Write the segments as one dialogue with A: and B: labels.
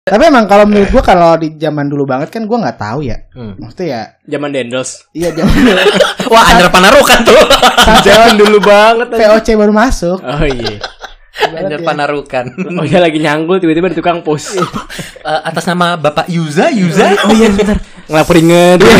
A: Tapi emang kalau menurut gua kalau di zaman dulu banget kan gua nggak tahu ya.
B: Hmm.
A: Maksudnya ya
C: Zaman Dendels.
A: iya zaman dulu.
B: Wah, Anjar Panarukan tuh.
C: Zaman dulu banget.
A: VOC baru masuk.
C: Oh iya.
A: Ibarat
B: Anjar
A: ya.
B: Panarukan.
C: Oh iya lagi nyanggul tiba-tiba di tukang pos.
B: Eh, atas nama Bapak Yuza, Yuza. Iya.
C: Oh iya bentar. Ngelap keringet.
A: Terus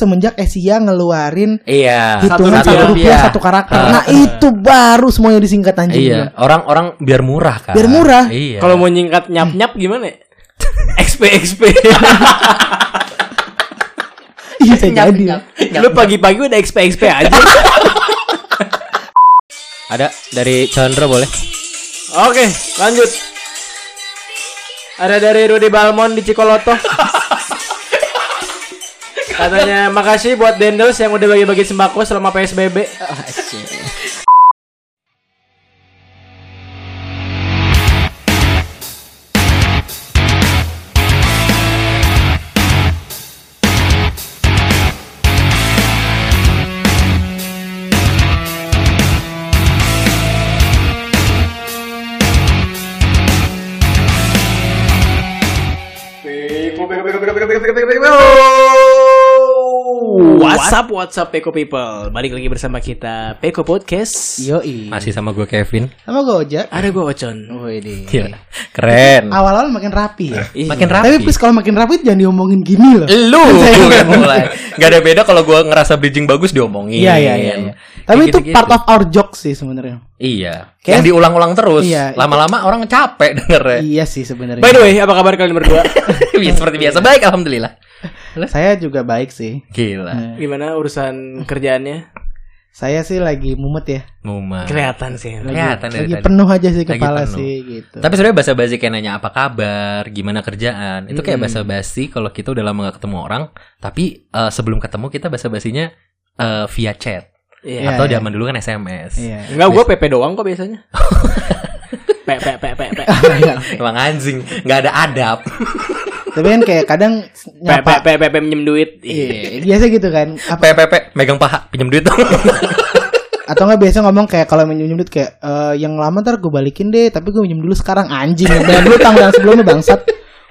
A: Semenjak Asia ngeluarin
B: Iya.
A: hitungan
C: satu
A: satu rupiah
B: rupiah.
A: satu karakter.
B: Ah.
A: Nah itu baru semuanya disingkat anjing.
B: Iya, orang-orang biar murah kan.
A: Biar murah.
B: Iya.
C: Kalau mau nyingkat nyap-nyap gimana? ya? XP XP.
A: Iya saya jadi.
C: Lu pagi-pagi udah XP XP aja.
B: ada dari Chandra boleh.
C: Oke, lanjut. Ada dari Rudy Balmon di Cikoloto. Katanya makasih buat Dendels yang udah bagi-bagi sembako selama PSBB. WhatsApp WhatsApp Peko People. Balik lagi bersama kita Peko Podcast.
A: Yo
B: Masih sama gue Kevin.
A: Sama gue Oja.
C: Iya. Ada gua Ocon.
A: Oh ini.
B: Iya. Keren.
A: Awal-awal makin rapi ya.
B: Makin rapi. Eh,
A: Tapi please kalau makin rapi jangan diomongin gini loh.
B: Lu udah mulai. Gak ada beda kalau gue ngerasa bridging bagus diomongin.
A: Iya iya iya. iya. Tapi
B: Kayak
A: itu
B: gitu-gitu.
A: part of our joke sih sebenarnya.
B: Iya.
A: Kayak-
B: Yang diulang-ulang terus.
A: Iya.
B: Lama-lama orang capek dengernya.
A: Iya sih sebenarnya.
C: By the way, apa kabar kalian berdua?
B: Iya. Seperti biasa. Baik, alhamdulillah.
A: Saya juga baik sih.
B: Gila.
C: Gimana urusan kerjaannya?
A: Saya sih lagi mumet ya.
B: Muma.
C: Kelihatan sih.
B: Kelihatan dari
A: lagi
B: tadi.
A: penuh aja sih
B: Lagi
A: kepala
B: penuh.
A: sih gitu.
B: Tapi sebenarnya basa-basi kayak nanya apa kabar, gimana kerjaan. Itu kayak basa-basi kalau kita udah lama gak ketemu orang, tapi eh, sebelum ketemu kita basa-basinya eh, via chat
C: Iya.
B: atau
A: iya.
B: zaman dulu kan SMS.
A: Iya.
C: Enggak, gua PP doang kok biasanya. Pe pe pe pe pe.
B: Emang anjing, nggak ada adab.
A: Tapi kan kayak kadang
C: Pe pe
A: nyapa
C: pe pe, pe minjem duit.
A: Iya, biasa gitu kan. Apa-
B: PPP megang paha, pinjam duit dong.
A: atau nggak biasa ngomong kayak kalau minjem duit kayak "Eh, yang lama ntar gue balikin deh, tapi gue minjem dulu sekarang anjing. Bayar dulu tanggal sebelumnya bangsat.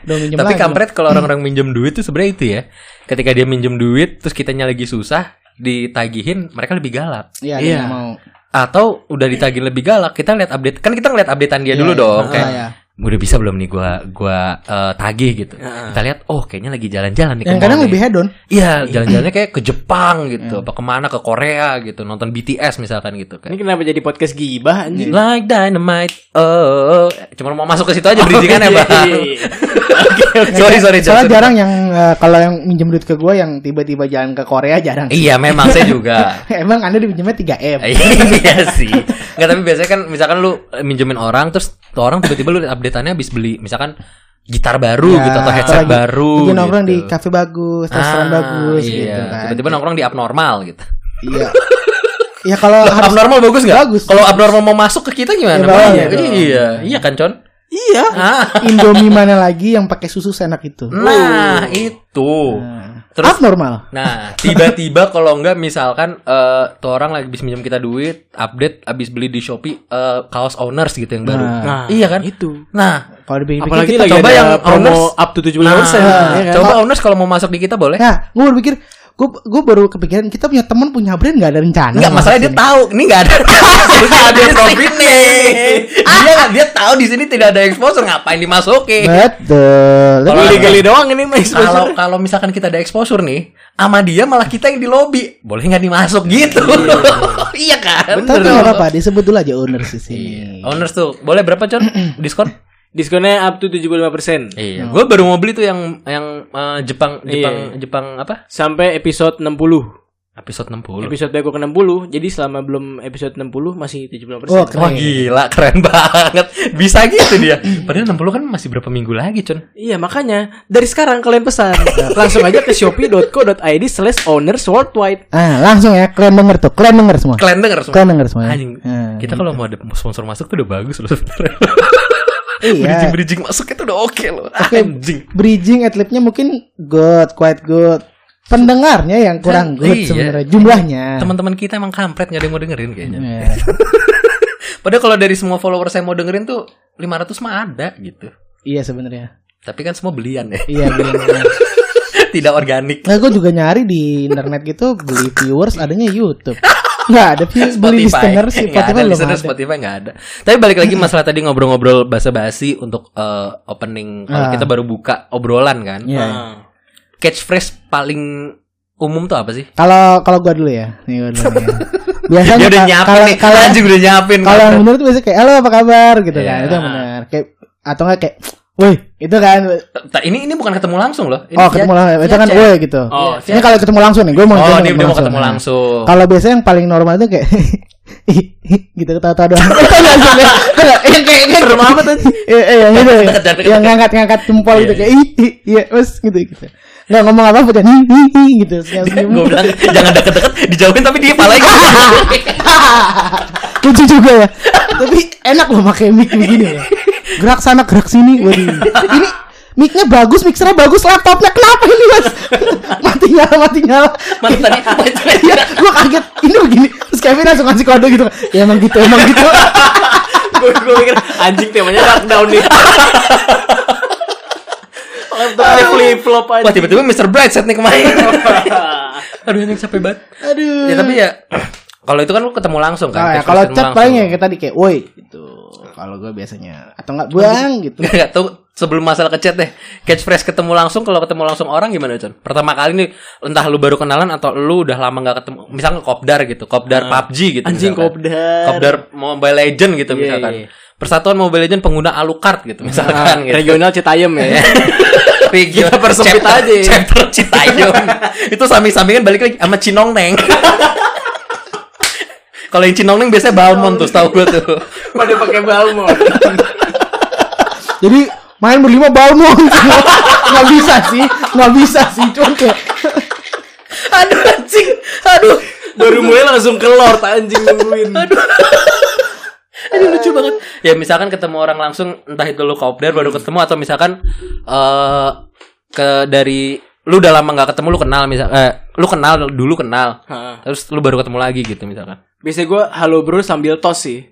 A: Udah minjem
B: tapi
A: lagi.
B: kampret kalau orang-orang minjem duit tuh sebenarnya itu ya. Ketika dia minjem duit terus kitanya lagi susah, ditagihin mereka lebih galak.
A: Iya,
C: Iya.
A: nggak mau.
B: Atau udah ditagih lebih galak, kita lihat update. Kan kita ngeliat updatean dia dulu
A: Iya,
B: dong.
A: iya.
B: Kayak,
A: Ah, iya. Ah,
B: udah bisa belum nih gua gua eh, tagih gitu. Kita lihat oh kayaknya lagi jalan-jalan nih. ke
A: Yang
B: mall
A: kadang
B: nih.
A: lebih Hmm. head on.
B: Iya, jalan-jalannya kayak ke Jepang gitu, apa kemana ke Korea gitu, nonton BTS misalkan gitu
C: Ini
B: kayak.
C: kenapa jadi podcast
A: Iya.
C: gibah anjing?
B: Like dynamite. Oh, oh, oh. cuma mau masuk ke situ
A: Oh,
B: aja bridgingannya,
A: iya.
B: Bang. sorry, sorry,
A: Soalnya
B: sorry.
A: jarang yang eh, kalau yang minjem duit ke gue yang tiba-tiba jalan ke Korea jarang.
B: Iya, memang saya juga.
A: Emang Anda dipinjemnya 3 M.
B: iya sih. Enggak tapi biasanya kan misalkan lu eh, minjemin orang terus tuh orang tiba-tiba lu liat update-annya habis beli misalkan gitar baru
A: Ya,
B: gitu atau headset
A: lagi-
B: baru.
A: Lagi nongkrong
B: gitu.
A: di kafe bagus, restoran
B: Ah,
A: bagus
B: iya.
A: gitu kan.
B: Tiba-tiba nongkrong di abnormal gitu.
A: Iya. Ya kalau
B: Loh,
A: harus
B: abnormal bagus nggak?
A: Bagus.
B: Kalau abnormal mau masuk ke kita gimana?
A: Ya, bagus.
B: Iya, iya, iya kan, Con?
C: Iya.
B: Ah,
A: Indomie mana lagi yang pakai susu seenak itu?
B: nah itu. Terus,
A: Abnormal.
B: nah tiba-tiba kalau nggak misalkan eh, tuh orang lagi habis minjem kita duit, update habis beli di Shopee eh, kaos owners gitu yang baru.
A: Nah.
C: Nah,
B: iya kan?
C: Itu.
B: Nah,
A: Kalau dipikir
C: Apalagi
B: kita
C: lagi
B: coba
C: ada
B: yang
C: promo
B: owners.
C: up to 70%.
B: nah,
C: ya kan?
B: coba owners kalau mau masuk di kita boleh?
A: Nah, gue berpikir gue gue baru kepikiran kita punya teman punya brand nggak ada rencana.
B: Enggak, masalahnya dia tahu. Ini enggak ada. Enggak ada profit nih. Dia dia tahu di sini tidak ada exposure, ngapain dimasukin?
A: Betul. Tapi
B: Kalau-
C: Geli-geli doang ini mah
B: kalau kalau misalkan kita ada exposure nih sama dia malah kita yang di lobby boleh nggak dimasuk gitu iya kan
A: tapi nggak apa-apa disebut dulu aja owner sih sini.
B: owners tuh boleh berapa con diskon
C: Diskonnya up to 75%.
B: iya gue baru mau beli tuh yang yang eh, Jepang Jepang Jepang apa
C: Sampai episode 60.
B: episode 60
C: Episode Beko ke 60. Jadi selama belum episode 60 masih 70%.
A: Oh,
B: Wah
A: keren.
B: gila keren banget Bisa gitu dia Padahal 60 kan masih berapa minggu lagi Con
C: Iya makanya dari sekarang kalian pesan langsung aja ke shopee.co.id slash owners worldwide.
A: Ah, langsung ya, keren denger tuh, keren denger semua.
B: Kalian denger semua
A: Keren denger semua. ya.
B: Anjing, Iya.
A: Ah,
B: Kita kalau mau ada sponsor masuk tuh udah bagus loh sebenernya
A: Iya.
B: Bridging-bridging masuk itu udah oke loh Anjing
A: Bridging atletnya mungkin good, quite good. Pendengarnya yang kurang
B: Kan,
A: good
B: iya.
A: sebenarnya jumlahnya. Iya,
B: teman-teman kita emang kampret nggak ada yang mau dengerin kayaknya.
A: Ya.
B: Padahal kalau dari semua followers saya mau dengerin tuh 500 mah ada gitu.
A: Iya sebenarnya.
B: Tapi kan semua belian ya,
A: Iya benar.
B: tidak organik.
A: Nah, gue juga nyari di internet gitu beli viewers adanya YouTube. Nggak ada view, beli listener sih,
B: nggak
A: Spotify
B: ada
A: belum
B: listener
A: ada.
B: Spotify nggak ada. Tapi balik lagi masalah tadi ngobrol-ngobrol basa-basi untuk eh, opening kalau
A: Ah.
B: kita baru buka obrolan kan.
A: Iya.
B: Catchphrase paling umum tuh apa sih?
A: Kalau kalau gue dulu ya, nih gue dulu. nih. Biasanya
B: Dia udah
A: ka-
B: nyiapin
A: kalau
B: nih,
A: kalau
B: anjing udah nyiapin.
A: kalau yang
B: kan.
A: bener tuh biasanya kayak halo apa kabar gitu
B: Iya.
A: kan. Itu yang benar. Kayak atau enggak kayak woi, itu kan
B: Ta- ini ini bukan ketemu langsung loh. Ini
A: oh
B: via-
A: ketemu langsung. Itu
B: via
A: kan
B: chat.
A: woi gitu.
B: Oh,
A: Ini kalau ketemu langsung nih, gue mau
B: Oh,
A: nyoba
B: dia, dia mau ketemu langsung.
A: Kalau biasanya yang paling normal itu kayak gitu ketawa-tawa doang. Itu langsung ya. Yang kayak kayak
B: Serem amat tuh.
A: Iya, iya, yang gitu. ya.
B: Jangan-
A: Yang ngangkat-ngangkat jempol gitu kayak ih, ih, iya, wes gitu gitu. Nggak ngomong apa-apa dan hi hi hi gitu. Senyum.
B: Gue bilang jangan deket-deket, dijauhin tapi dia palanya gitu.
A: Lucu juga ya. Tapi enak loh pakai mic begini ya. Gerak sana, gerak sini. Waduh. Ini mic-nya bagus, mixernya bagus, laptopnya kenapa ini, Mas? mati nyala, mati nyala.
B: Mana tadi?
A: Iya, gua kaget. Ini begini. Terus Kevin langsung ngasih kode gitu. Ya emang gitu, emang gitu.
C: gue gue mikir anjing temanya lockdown nih laptopnya flip flop aja
B: Wah tiba-tiba Mr. Brightside nih kemarin. Aduh anjing capek banget.
A: Aduh.
B: Ya tapi ya kalau itu kan lu ketemu langsung
A: Oh,
C: Nah,
B: kan.
A: ya,
B: Catchphrase
A: kalau
B: ketemu
A: chat
B: langsung.
A: paling ya kayak tadi kayak woi gitu. Kalau gue biasanya atau enggak bang gitu.
B: Nggak, nggak, tuh sebelum masalah ke chat deh. Catchphrase ketemu langsung kalau ketemu langsung orang gimana, Con? Pertama kali nih entah lu baru kenalan atau lu udah lama nggak ketemu. Misalnya kopdar gitu, kopdar PUBG gitu
C: anjing
B: misalkan.
C: kopdar
B: Kopdar Mobile Legend gitu
C: Iya,
B: misalkan.
C: iya. Ah,
B: Persatuan Mobile Legend pengguna Alucard gitu
C: kan,
B: misalkan gitu.
C: regional citayam ya
B: Region,
C: Kita persempit
B: chapter-
C: aja.
B: Chapter Citayam. ya. itu samping-sampingan balik lagi sama Cinong Neng. Kalau yang Cinong Neng biasanya Balmon tuh, tahu gue tuh.
C: pada pakai balmo
A: Jadi main berlima balmong semua. nggak bisa sih, nggak bisa sih. Cuman kayak
B: Aduh anjing, aduh.
C: baru mulai langsung ke lord anjing nungguin
B: Aduh lucu banget. Ya misalkan ketemu orang langsung entah itu lu kopdar baru ketemu atau misalkan eh ke dari lu udah lama nggak ketemu lu kenal misal eh, lu kenal dulu kenal
C: Ha.
B: terus lu baru ketemu lagi gitu misalkan
C: biasanya gue halo bro sambil tos sih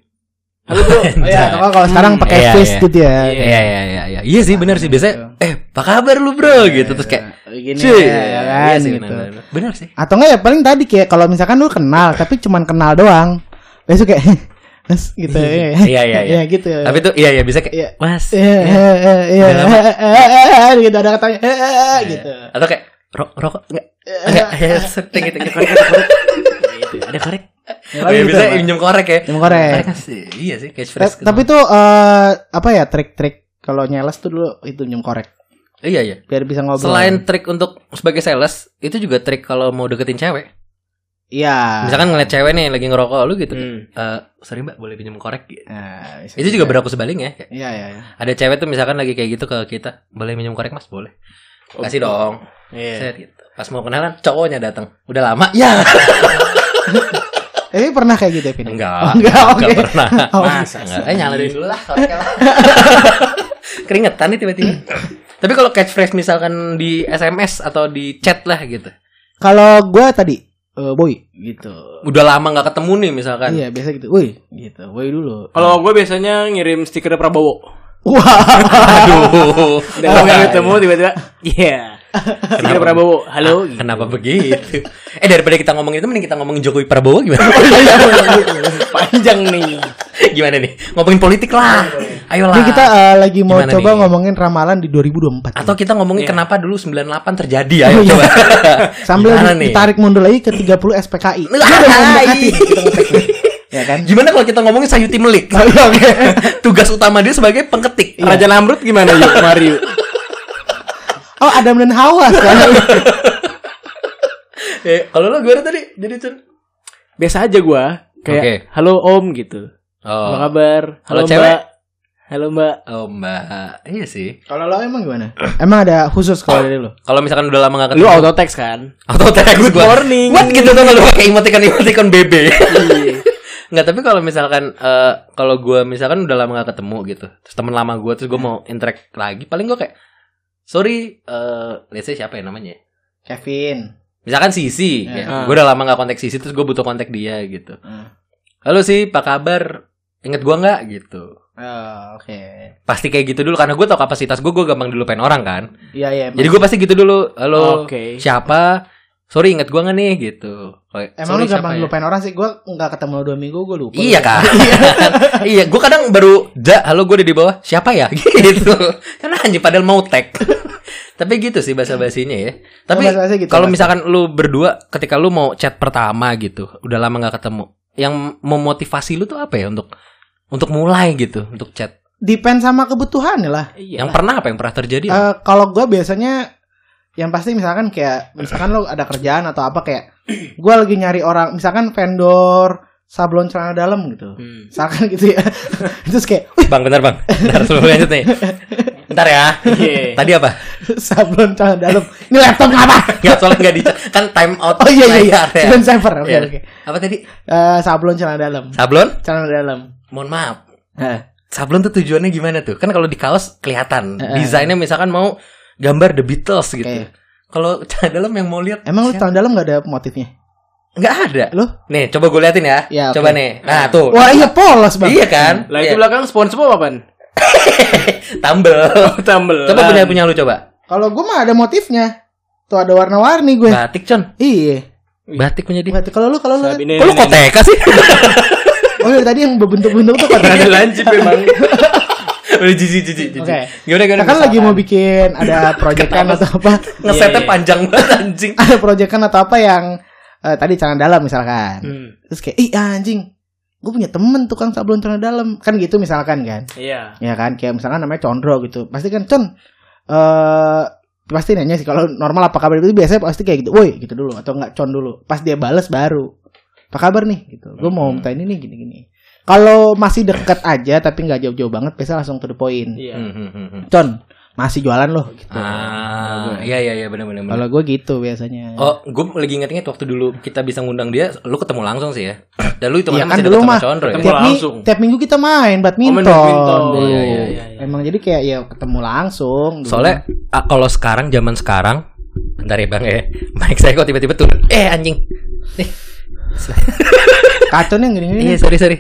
C: halo
B: Oh,
C: bro
A: ya, atau kalau sekarang pakai
B: Iya,
A: face
B: iya.
A: gitu ya.
B: Iya iya iya iya iya. Iya sih benar sih biasanya eh apa kabar lu bro gitu terus kayak
A: Begini
B: cuy
A: ya, ya kan,
B: iya sih
A: gitu.
B: benar benar. Benar sih.
A: Atau enggak ya paling tadi kayak kalau misalkan lu kenal tapi cuman kenal doang. Besok kayak Mas gitu. ya.
B: Iya iya iya.
A: Ya gitu. ya.
B: Tapi tuh iya iya bisa
A: Iya.
B: kayak mas
A: Iya, iya, iya,
B: Udah lama. iya.
A: iya, iya, iya, gitu ada katanya eh, eh, eh, gitu.
B: atau kayak "Ro- rokok enggak gitu gitu
C: ada korek
B: Oh iya,
A: gitu,
B: bisa
A: Pak.
B: minjem korek ya.
A: Minjem korek.
B: Korek kan sih. Iya sih, cash fresh.
A: Ta- Tapi tuh eh, apa ya trik-trik kalau nyeles tuh dulu itu nyum korek
B: iya iya.
A: biar bisa ngobrol.
B: Selain trik untuk sebagai sales, itu juga trik kalau mau deketin cewek.
A: iya.
B: Misalkan ngeliat cewek nih lagi ngerokok lu gitu.
C: Hmm.
B: Eh, sorry Mbak, boleh pinjam korek? Gitu.
A: Nah, bisa
B: Itu juga berlaku sebaliknya. Kayak,
A: Iya, iya, iya.
B: Ada cewek tuh misalkan lagi kayak gitu ke kita, "Boleh minjem korek Mas?" Boleh. Kasih dong.
C: Iya.
B: Set gitu. Pas mau kenalan, cowoknya datang. Udah lama? Ya.
A: Tapi pernah kayak gitu ya, Pin?
B: Enggak.
A: Oh, enggak, oke.
B: Enggak pernah.
A: Oh,
B: Masa enggak? Eh nyalain dulu lah koreknya lah. Keringetan nih tiba-tiba. Tapi kalau catchphrase misalkan di SMS atau di chat lah gitu.
A: Kalau gua tadi eh, boy gitu.
B: Udah lama nggak ketemu nih misalkan.
A: Iya, biasa gitu. Woi, gitu. Woi dulu.
C: Kalau gue biasanya ngirim stiker
B: Oh,
C: Prabowo.
A: Wah.
B: Aduh.
C: Dan kalau nggak ketemu gitu,
B: iya.
C: tiba-tiba, iya. Stiker Prabowo, halo. gitu.
B: Ah, Kenapa begitu? Eh daripada kita ngomongin itu mending kita ngomongin Jokowi Prabowo gimana?
C: Panjang nih.
B: gimana nih? Ngomongin politik lah. Ayolah.
A: Ini kita eh, lagi mau
B: Gimana
A: coba
B: nih?
A: ngomongin ramalan di 2024.
B: atau kita ngomongin kenapa dulu 98 terjadi ayo coba.
A: Sambil
B: Gimana
A: di- ditarik mundur lagi ke 30 SPKI. Ini udah mau mendekati nih, kita ngeteknya. ya kan?
B: Gimana kalau kita ngomongin Sayuti Melik? Tugas utama dia sebagai pengketik.
C: Raja Namrud gimana yuk Mario?
A: Oh, Adam dan Hawa sekarang.
B: Eh, kalau lo gimana tadi? Jadi Cun.
C: Biasa aja gua kayak
B: Oke.
C: halo Om gitu. Apa
B: Oh,
C: kabar?
B: Kalau
C: Halo,
B: cewek?
C: Mbak. Halo Mbak.
B: oh Mbak. Iya sih.
A: kalau lo emang gimana? Emang ada khusus kalau dari lo?
B: Kalau misalkan udah lama gak
C: Lu
B: ketemu.
C: auto text kan?
B: Auto text
C: Good
B: gua.
C: morning.
B: What gitu tuh lu pakai emoticon emoticon bebe. Nggak, tapi kalau misalkan eh, kalau gua misalkan udah lama gak ketemu gitu. Terus teman lama gua terus gua mau interact lagi, paling gua kayak sorry eh let's say siapa ya namanya? ya?
A: Kevin.
B: Misalkan Sisi,
A: Ya.
B: kayak, gua udah lama gak kontak Sisi terus gua butuh kontak dia gitu.
A: Hmm.
B: Halo sih, apa kabar? inget gua nggak gitu
A: Oh, oke.
B: pasti kayak gitu dulu karena gue tau kapasitas gue gue gampang dilupain orang kan
A: Iya, iya.
B: jadi gue pasti gitu dulu halo
C: Oke.
B: siapa sorry inget gue nggak nih gitu Kayak,
A: Emang
B: "Sorry,
A: lu gampang
B: siapa ya?"
A: lupain orang sih? Gua nggak ketemu lu dua minggu, gua lupa.
B: Iya kan? iya, gue kadang baru, ja, halo gue udah di bawah, siapa ya? Gitu. Karena anjing padahal mau tag. Tapi gitu sih bahasa basinya ya. Tapi
A: bahasa-bahasanya gitu,
B: kalau
A: Mas.
B: misalkan lu berdua, ketika lu mau chat pertama gitu, udah lama nggak ketemu, yang memotivasi lu tuh apa ya untuk untuk mulai gitu, untuk chat?
A: Depend sama kebutuhan lah.
C: Iya.
B: Yang pernah apa yang pernah terjadi?
A: Eh, kalau gua biasanya yang pasti misalkan kayak misalkan lo ada kerjaan atau apa kayak gua lagi nyari orang misalkan vendor sablon celana dalam gitu
C: Hmm.
A: misalkan gitu ya terus kayak "Wih,
B: bang, bentar bang, bentar sebelum lanjut nih. Bentar ya.
C: Iya.
B: Tadi apa?
A: sablon celana dalam ini laptop apa
B: Gak soalnya nggak di kan time out.
A: oh iya iya iya
B: layar ya.
A: sablon saver oke
B: Iya.
A: oke
B: Apa tadi?
A: Eh, sablon celana dalam
B: Sablon?
A: celana dalam
B: Mohon maaf,
A: Heeh.
B: sablon tuh tujuannya gimana tuh? Kan kalau di kaos kelihatan.
A: Heeh.
B: Desainnya misalkan mau gambar The Beatles gitu.
A: Oke.
B: Kalau celana dalam yang mau lihat
A: emang lu celana dalam nggak ada motifnya
B: nggak ada.
A: Loh?
B: Nih, coba gue liatin ya.
A: Ya, oke.
B: Coba nih. Nah, tuh.
A: wah iya polos banget
B: Iya kan?
C: Lah
B: Iya.
C: itu belakang sponsor apa, Pan?
B: Tumble.
C: Oh, Tambel.
B: coba punya punya lu coba.
A: kalau gua mah ada motifnya tuh ada warna-warni gue
B: Batik, Con.
A: iya
B: Batik punya dia.
A: Berarti kalau lu kalau lu
C: Ini
B: Kok lu koteka sih?
A: oh iya tadi yang berbentuk-bentuk tuh kan
C: ada lancip memang.
B: Udah jijik jijik jijik.
A: Oke.
B: Gimana gimana?
A: Kita kan lagi mau bikin ada proyekan atau apa?
B: Ngesetnya
C: Iya, iya.
B: panjang banget anjing.
A: Ada proyekan atau apa yang eh, tadi celana dalam misalkan.
C: Hmm.
A: Terus kayak ih anjing, gue punya temen tukang sablon celana dalam kan gitu misalkan kan?
C: Iya.
A: Ya kan kayak misalkan namanya Condro gitu. Pasti kan Con eh pasti nanya sih kalau normal apa kabar itu biasanya pasti kayak gitu. Woi gitu dulu atau enggak Con dulu. Pas dia bales baru apa kabar nih gitu. Gue
C: Hmm.
A: mau minta ini nih gini-gini. Kalau masih deket aja tapi nggak jauh-jauh banget, biasa langsung to the point.
C: Iya.
B: Hmm, hmm, hmm, hmm.
A: Con masih jualan loh gitu.
B: Ah, iya iya iya benar benar. benar.
A: Kalau gue gitu biasanya.
B: Oh, gue lagi inget-inget waktu dulu kita bisa ngundang dia, lu ketemu langsung sih ya. Dan lu itu
A: Iya kan
B: masih
A: dulu
B: deket sama
A: mah
B: Condro ya.
C: ketemu
A: tiap, mi-
C: langsung.
A: tiap minggu kita main badminton.
C: Oh, main badminton.
A: dulu.
B: Iya, iya,
C: iya, iya.
A: Emang jadi kayak ya ketemu langsung. dulu.
B: Soalnya ah, kalau sekarang zaman sekarang, bentar ya bang ya, mic saya kok tiba-tiba turun. Eh anjing. Nih.
A: kacau nih gini gini.
B: Iya sorry sorry.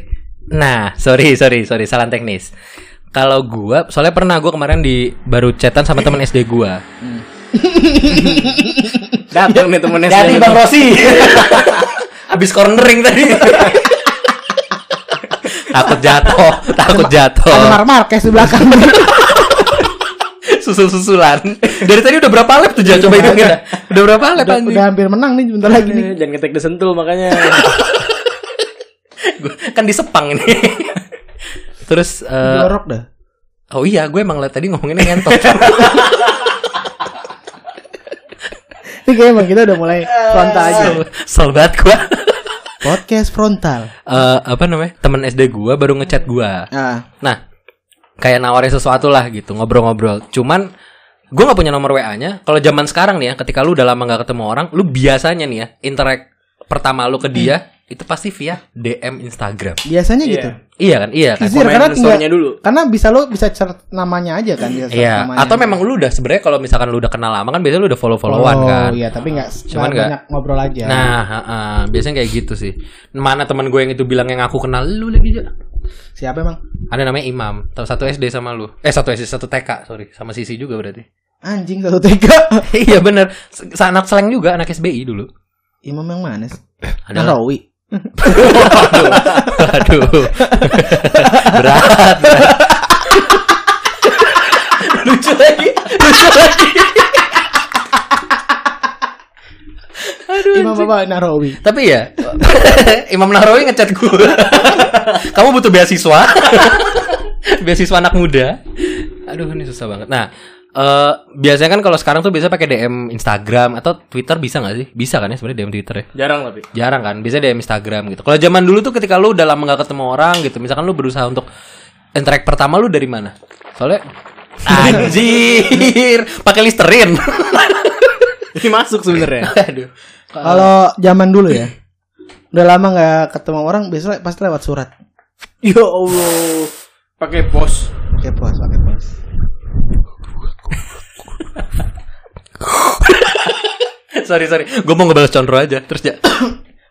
B: Nah sorry sorry sorry salah teknis. Kalau gua, soalnya pernah gua kemarin di baru chatan sama teman SD gua.
C: Datang nih temennya.
B: Dari
C: saya.
B: Bang Rosi. Abis cornering tadi. takut jatuh, takut jatuh.
A: Ada marquez di belakang.
B: susul-susulan. Dari tadi udah berapa lap tuh Jan? Coba hitung kita. Udah berapa lap
A: udah,
B: anjing?
A: udah hampir menang nih bentar lagi nih.
C: Eh, Jangan ketek disentul makanya.
B: Gua- kan di Sepang ini. Terus eh,
A: Jorok dah.
B: oh iya, gue emang liat tadi ngomonginnya ngentot.
A: Ini kayak emang kita udah
B: Eh,
A: mulai frontal aja.
B: iya. Sel banget gue.
A: Podcast frontal.
B: Eh, apa namanya? Temen SD gue baru ngechat gue.
A: Ah,
B: Nah, kayak nawarin sesuatu lah gitu, ngobrol-ngobrol. Cuman gue nggak punya nomor WA-nya. Kalau zaman sekarang nih ya, ketika lu udah lama nggak ketemu orang, lu biasanya nih ya interact pertama lu ke dia itu pasti via DM Instagram.
A: biasanya
C: Iya.
A: gitu.
B: Iya kan? Iya kan?
A: Izin karena
C: Komen
A: tinggal
C: story-nya dulu.
A: karena bisa lo bisa search namanya aja kan bisa search
B: Iya,
A: namanya.
B: atau memang lu udah sebenarnya kalau misalkan lu udah kenal lama kan biasanya lu udah follow-followan
A: Oh,
B: kan.
A: Iya, tapi enggak
B: Cuman nggak-
A: banyak ngobrol aja.
B: Nah, ha-ha, biasanya kayak gitu sih. Mana teman gue yang itu bilang yang aku kenal lu lagi aja.
A: Siapa emang?
B: Ada namanya Imam, tahu satu SD sama lu. Eh, satu SD, satu TK, sorry, sama Sisi juga berarti.
A: Anjing satu tiga.
B: iya bener, Se- anak seleng juga, anak SBI dulu.
A: Imam yang mana sih?
B: Ada lah.
A: Nahrawi.
B: Waduh, waduh. berat, berat. lucu lagi, lucu lagi.
A: Imam apa? Nahrawi.
B: Tapi ya, Imam Nahrawi ngechat gue. Kamu butuh beasiswa. beasiswa anak muda. Aduh, ini susah banget. Nah, eh, biasanya kan kalau sekarang tuh biasa pakai DM Instagram atau Twitter bisa nggak sih? Bisa kan ya sebenarnya DM Twitter ya?
C: Jarang tapi.
B: Jarang kan? Biasanya DM Instagram gitu. Kalau zaman dulu tuh ketika lu udah lama nggak ketemu orang gitu, misalkan lu berusaha untuk interact pertama lu dari mana? Soalnya anjir, pakai Listerine.
C: Ini masuk sebenarnya.
B: Aduh.
A: Kalau zaman dulu ya, udah lama nggak ketemu orang, biasanya pasti lewat surat.
C: Ya Allah. Pakai pos.
A: Pakai pos, pakai pos.
B: sorry, sorry. Gue mau ngebales Condro aja. Terus ya.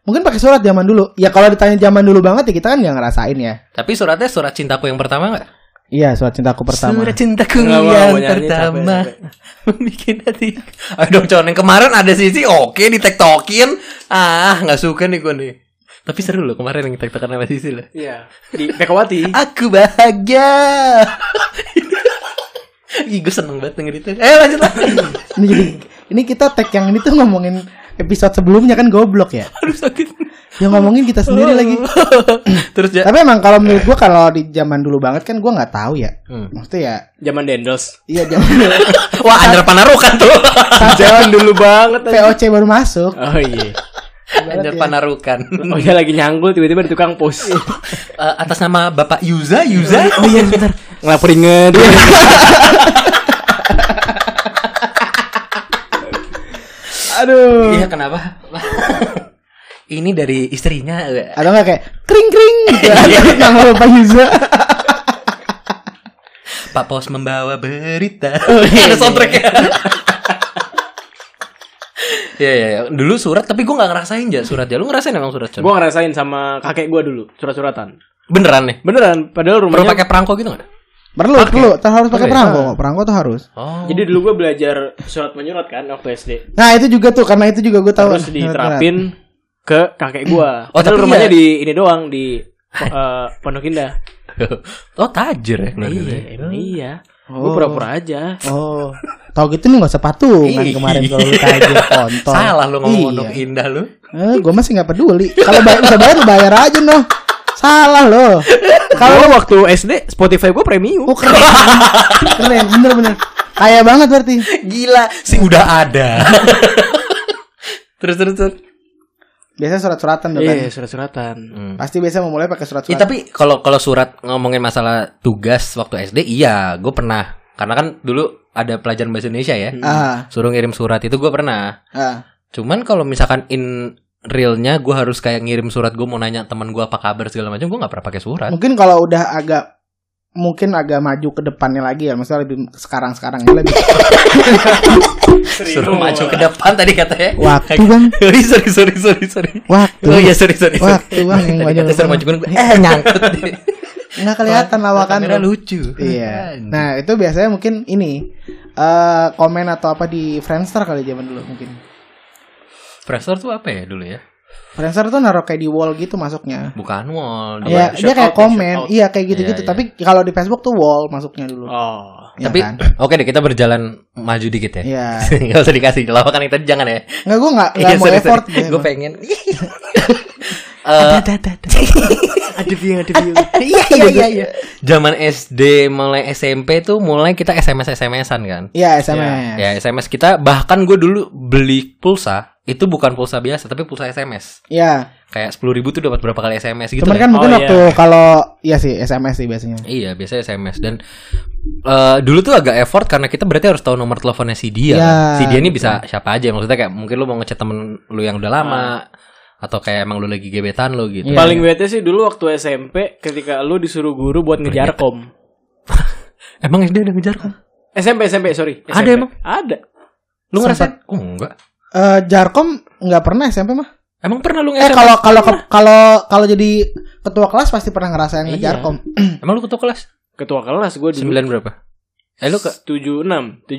A: Mungkin pakai surat zaman dulu. Ya kalau ditanya zaman dulu banget ya kita kan nggak ngerasain ya.
B: Tapi suratnya surat cintaku yang pertama nggak?
A: Iya, surat cintaku pertama.
B: Surat cintaku
C: Nggak mau,
B: yang
C: mau nyanyi,
B: pertama
C: capek,
B: Bikin hati Aduh con yang kemarin ada sisi oke di tiktokin Ah gak suka nih gue nih Tapi seru loh kemarin yang tiktokan sama sisi loh
C: Iya. Di Pekawati.
B: Aku bahagia Ih gue seneng banget denger itu Eh lanjut lah
A: Ini jadi ini kita tag yang ini tuh ngomongin episode sebelumnya kan goblok ya.
B: Aduh sakit
A: Yang ngomongin kita sendiri lagi.
B: Oh. Terus ya
A: Tapi emang kalau menurut gua kalau di zaman dulu banget kan gua nggak tahu ya.
B: Hmm.
A: Maksudnya ya
C: Zaman Dendels.
A: iya zaman dulu.
B: Wah Andra Panarukan tuh
C: Zaman dulu banget. anjing.
A: VOC baru masuk.
C: Oh iya.
B: Andra
A: ya.
B: Panarukan
C: Oh iya lagi nyanggul tiba-tiba ada tukang pos.
B: Eh, Atas nama Bapak Yuza Yuza
C: Oh iya bentar. Ngelapor inget.
A: Aduh.
B: Iya kenapa? Ini dari istrinya. eh.
A: Atau nggak kayak kring kring gitu. Ada Nama Bapak Yuza.
B: Pak Pos membawa berita.
C: Oh, iya,
B: Ada
C: iya.
B: soundtracknya. Iya iya iya. dulu surat tapi gue nggak ngerasain aja surat ya. Lu ngerasain emang surat Jon?
C: Gue ngerasain sama kakek gue dulu surat-suratan.
B: Beneran nih.
C: Beneran. Padahal
B: Perlu
C: rumahnya.
B: pakai perangko gitu nggak?
A: Perlu, perlu. Terus harus pakai
B: Oke.
A: perangko. kok. Perangko tuh harus.
B: Oh.
C: Jadi dulu gue belajar surat menyurat kan waktu SD.
A: Nah itu juga tuh karena itu juga gue tahu.
C: Terus diterapin ke kakek gue.
B: Oh,
C: Padahal
B: tapi
C: rumahnya
B: iya.
A: ya?
C: di ini doang di eh, Pondok Indah.
B: oh tajir ya. keluarga
C: Iya,
B: ya.
C: emang iya. Gue
A: Oh.
C: pura-pura aja.
A: Oh, tau gitu nih nggak usah patungan
B: Ih.
A: Iya. kemarin kalau lu tajir kontol.
B: Salah lu ngomong
A: Iya.
B: Pondok Indah lu.
A: Eh, gue masih nggak peduli. Kalau bayar bisa bayar lu bayar aja noh. Salah lo.
C: Kalau waktu SD Spotify gue premium.
A: Oh, keren. keren, bener bener. Kaya banget berarti.
B: Gila sih udah ada. terus terus terus.
A: Biasanya surat-suratan tuh kan.
C: Iya, surat-suratan.
A: Pasti biasa memulai pakai
B: Ya,
A: surat-surat.
B: tapi kalau kalau surat ngomongin masalah tugas waktu SD, iya, gue pernah. Karena kan dulu ada pelajaran bahasa Indonesia ya.
A: Ah,
B: Suruh ngirim surat itu gue pernah.
A: ah.
B: Cuman kalau misalkan in realnya gue harus kayak ngirim surat gue mau nanya teman gue apa kabar segala macam, gue nggak pernah pakai surat.
A: Mungkin kalau udah agak mungkin agak maju ke depannya lagi ya, maksudnya lebih sekarang-sekarang ini lebih
B: Suruh maju ke depan tadi katanya.
A: waktu bang,
B: sorry sorry sorry sorry sorry.
A: waktu.
B: Oh iya sorry sorry. sorry.
A: Waktu, Bang, yang
B: Tadi
A: maju
B: katanya
A: ke
B: suruh
A: depan.
B: maju ke depan. Eh nyangkut.
A: nggak kelihatan lawakan
B: Kamera
A: lu.
B: lucu.
A: Iya. Nah itu biasanya mungkin ini eh komen atau apa di Friendster kali zaman dulu mungkin.
B: Pressure tuh apa ya dulu ya?
A: Friendster tuh naruh kayak di wall gitu masuknya.
B: Bukan wall.
A: Iya, dia
B: dia-
C: Shout
A: kayak
C: out ya, shout
A: komen,
C: out.
A: iya kayak gitu-gitu.
B: Iya, iya.
A: Tapi kalau di Facebook tuh wall masuknya dulu.
C: Oh.
A: Iya
B: Tapi
A: kan?
B: oke deh kita berjalan maju dikit ya.
A: Iya.
B: Gak usah dikasih lawakan yang tadi jangan ya.
A: nggak gue nggak nggak mau effort. gitu.
B: Gue pengen. Eh,
C: Ada view, ada view.
A: Iya iya iya. iya.
B: Zaman SD mulai SMP tuh mulai kita SMS SMS-an kan.
A: Iya SMS.
B: Ya SMS kita bahkan gue dulu beli pulsa itu bukan pulsa biasa tapi pulsa SMS.
A: Iya.
B: Kayak sepuluh ribu tuh dapat berapa kali SMS gitu.
A: Cuman
B: ya.
A: kan mungkin
C: Oh, iya.
A: waktu kalau iya sih SMS sih biasanya.
B: Iya biasanya SMS dan eh, dulu tuh agak effort karena kita berarti harus tahu nomor teleponnya si dia.
A: Ya,
B: kan. Si dia ini bisa siapa aja maksudnya kayak mungkin lu mau ngechat temen lu yang udah lama atau kayak emang lu lagi gebetan lu gitu.
A: Iya.
C: Paling bete sih dulu waktu SMP ketika lu disuruh guru buat ngejar kom.
B: Emang SD udah ngejar kan?
C: SMP SMP sorry.
B: Ada
C: SMP.
B: emang?
C: Ada.
B: Lu
A: Sempat.
B: ngerasain? Oh enggak.
A: Eh Jarkom nggak pernah SMP mah.
B: Emang pernah
A: Eh
B: lu ngejar?
A: kalau kalau kalau kalau jadi ketua kelas pasti pernah ngerasain
C: Iya.
A: ngejarkom.
B: Emang lu ketua kelas?
C: Ketua kelas gue dulu.
B: Sembilan berapa? Eh lu ke
C: 76 7681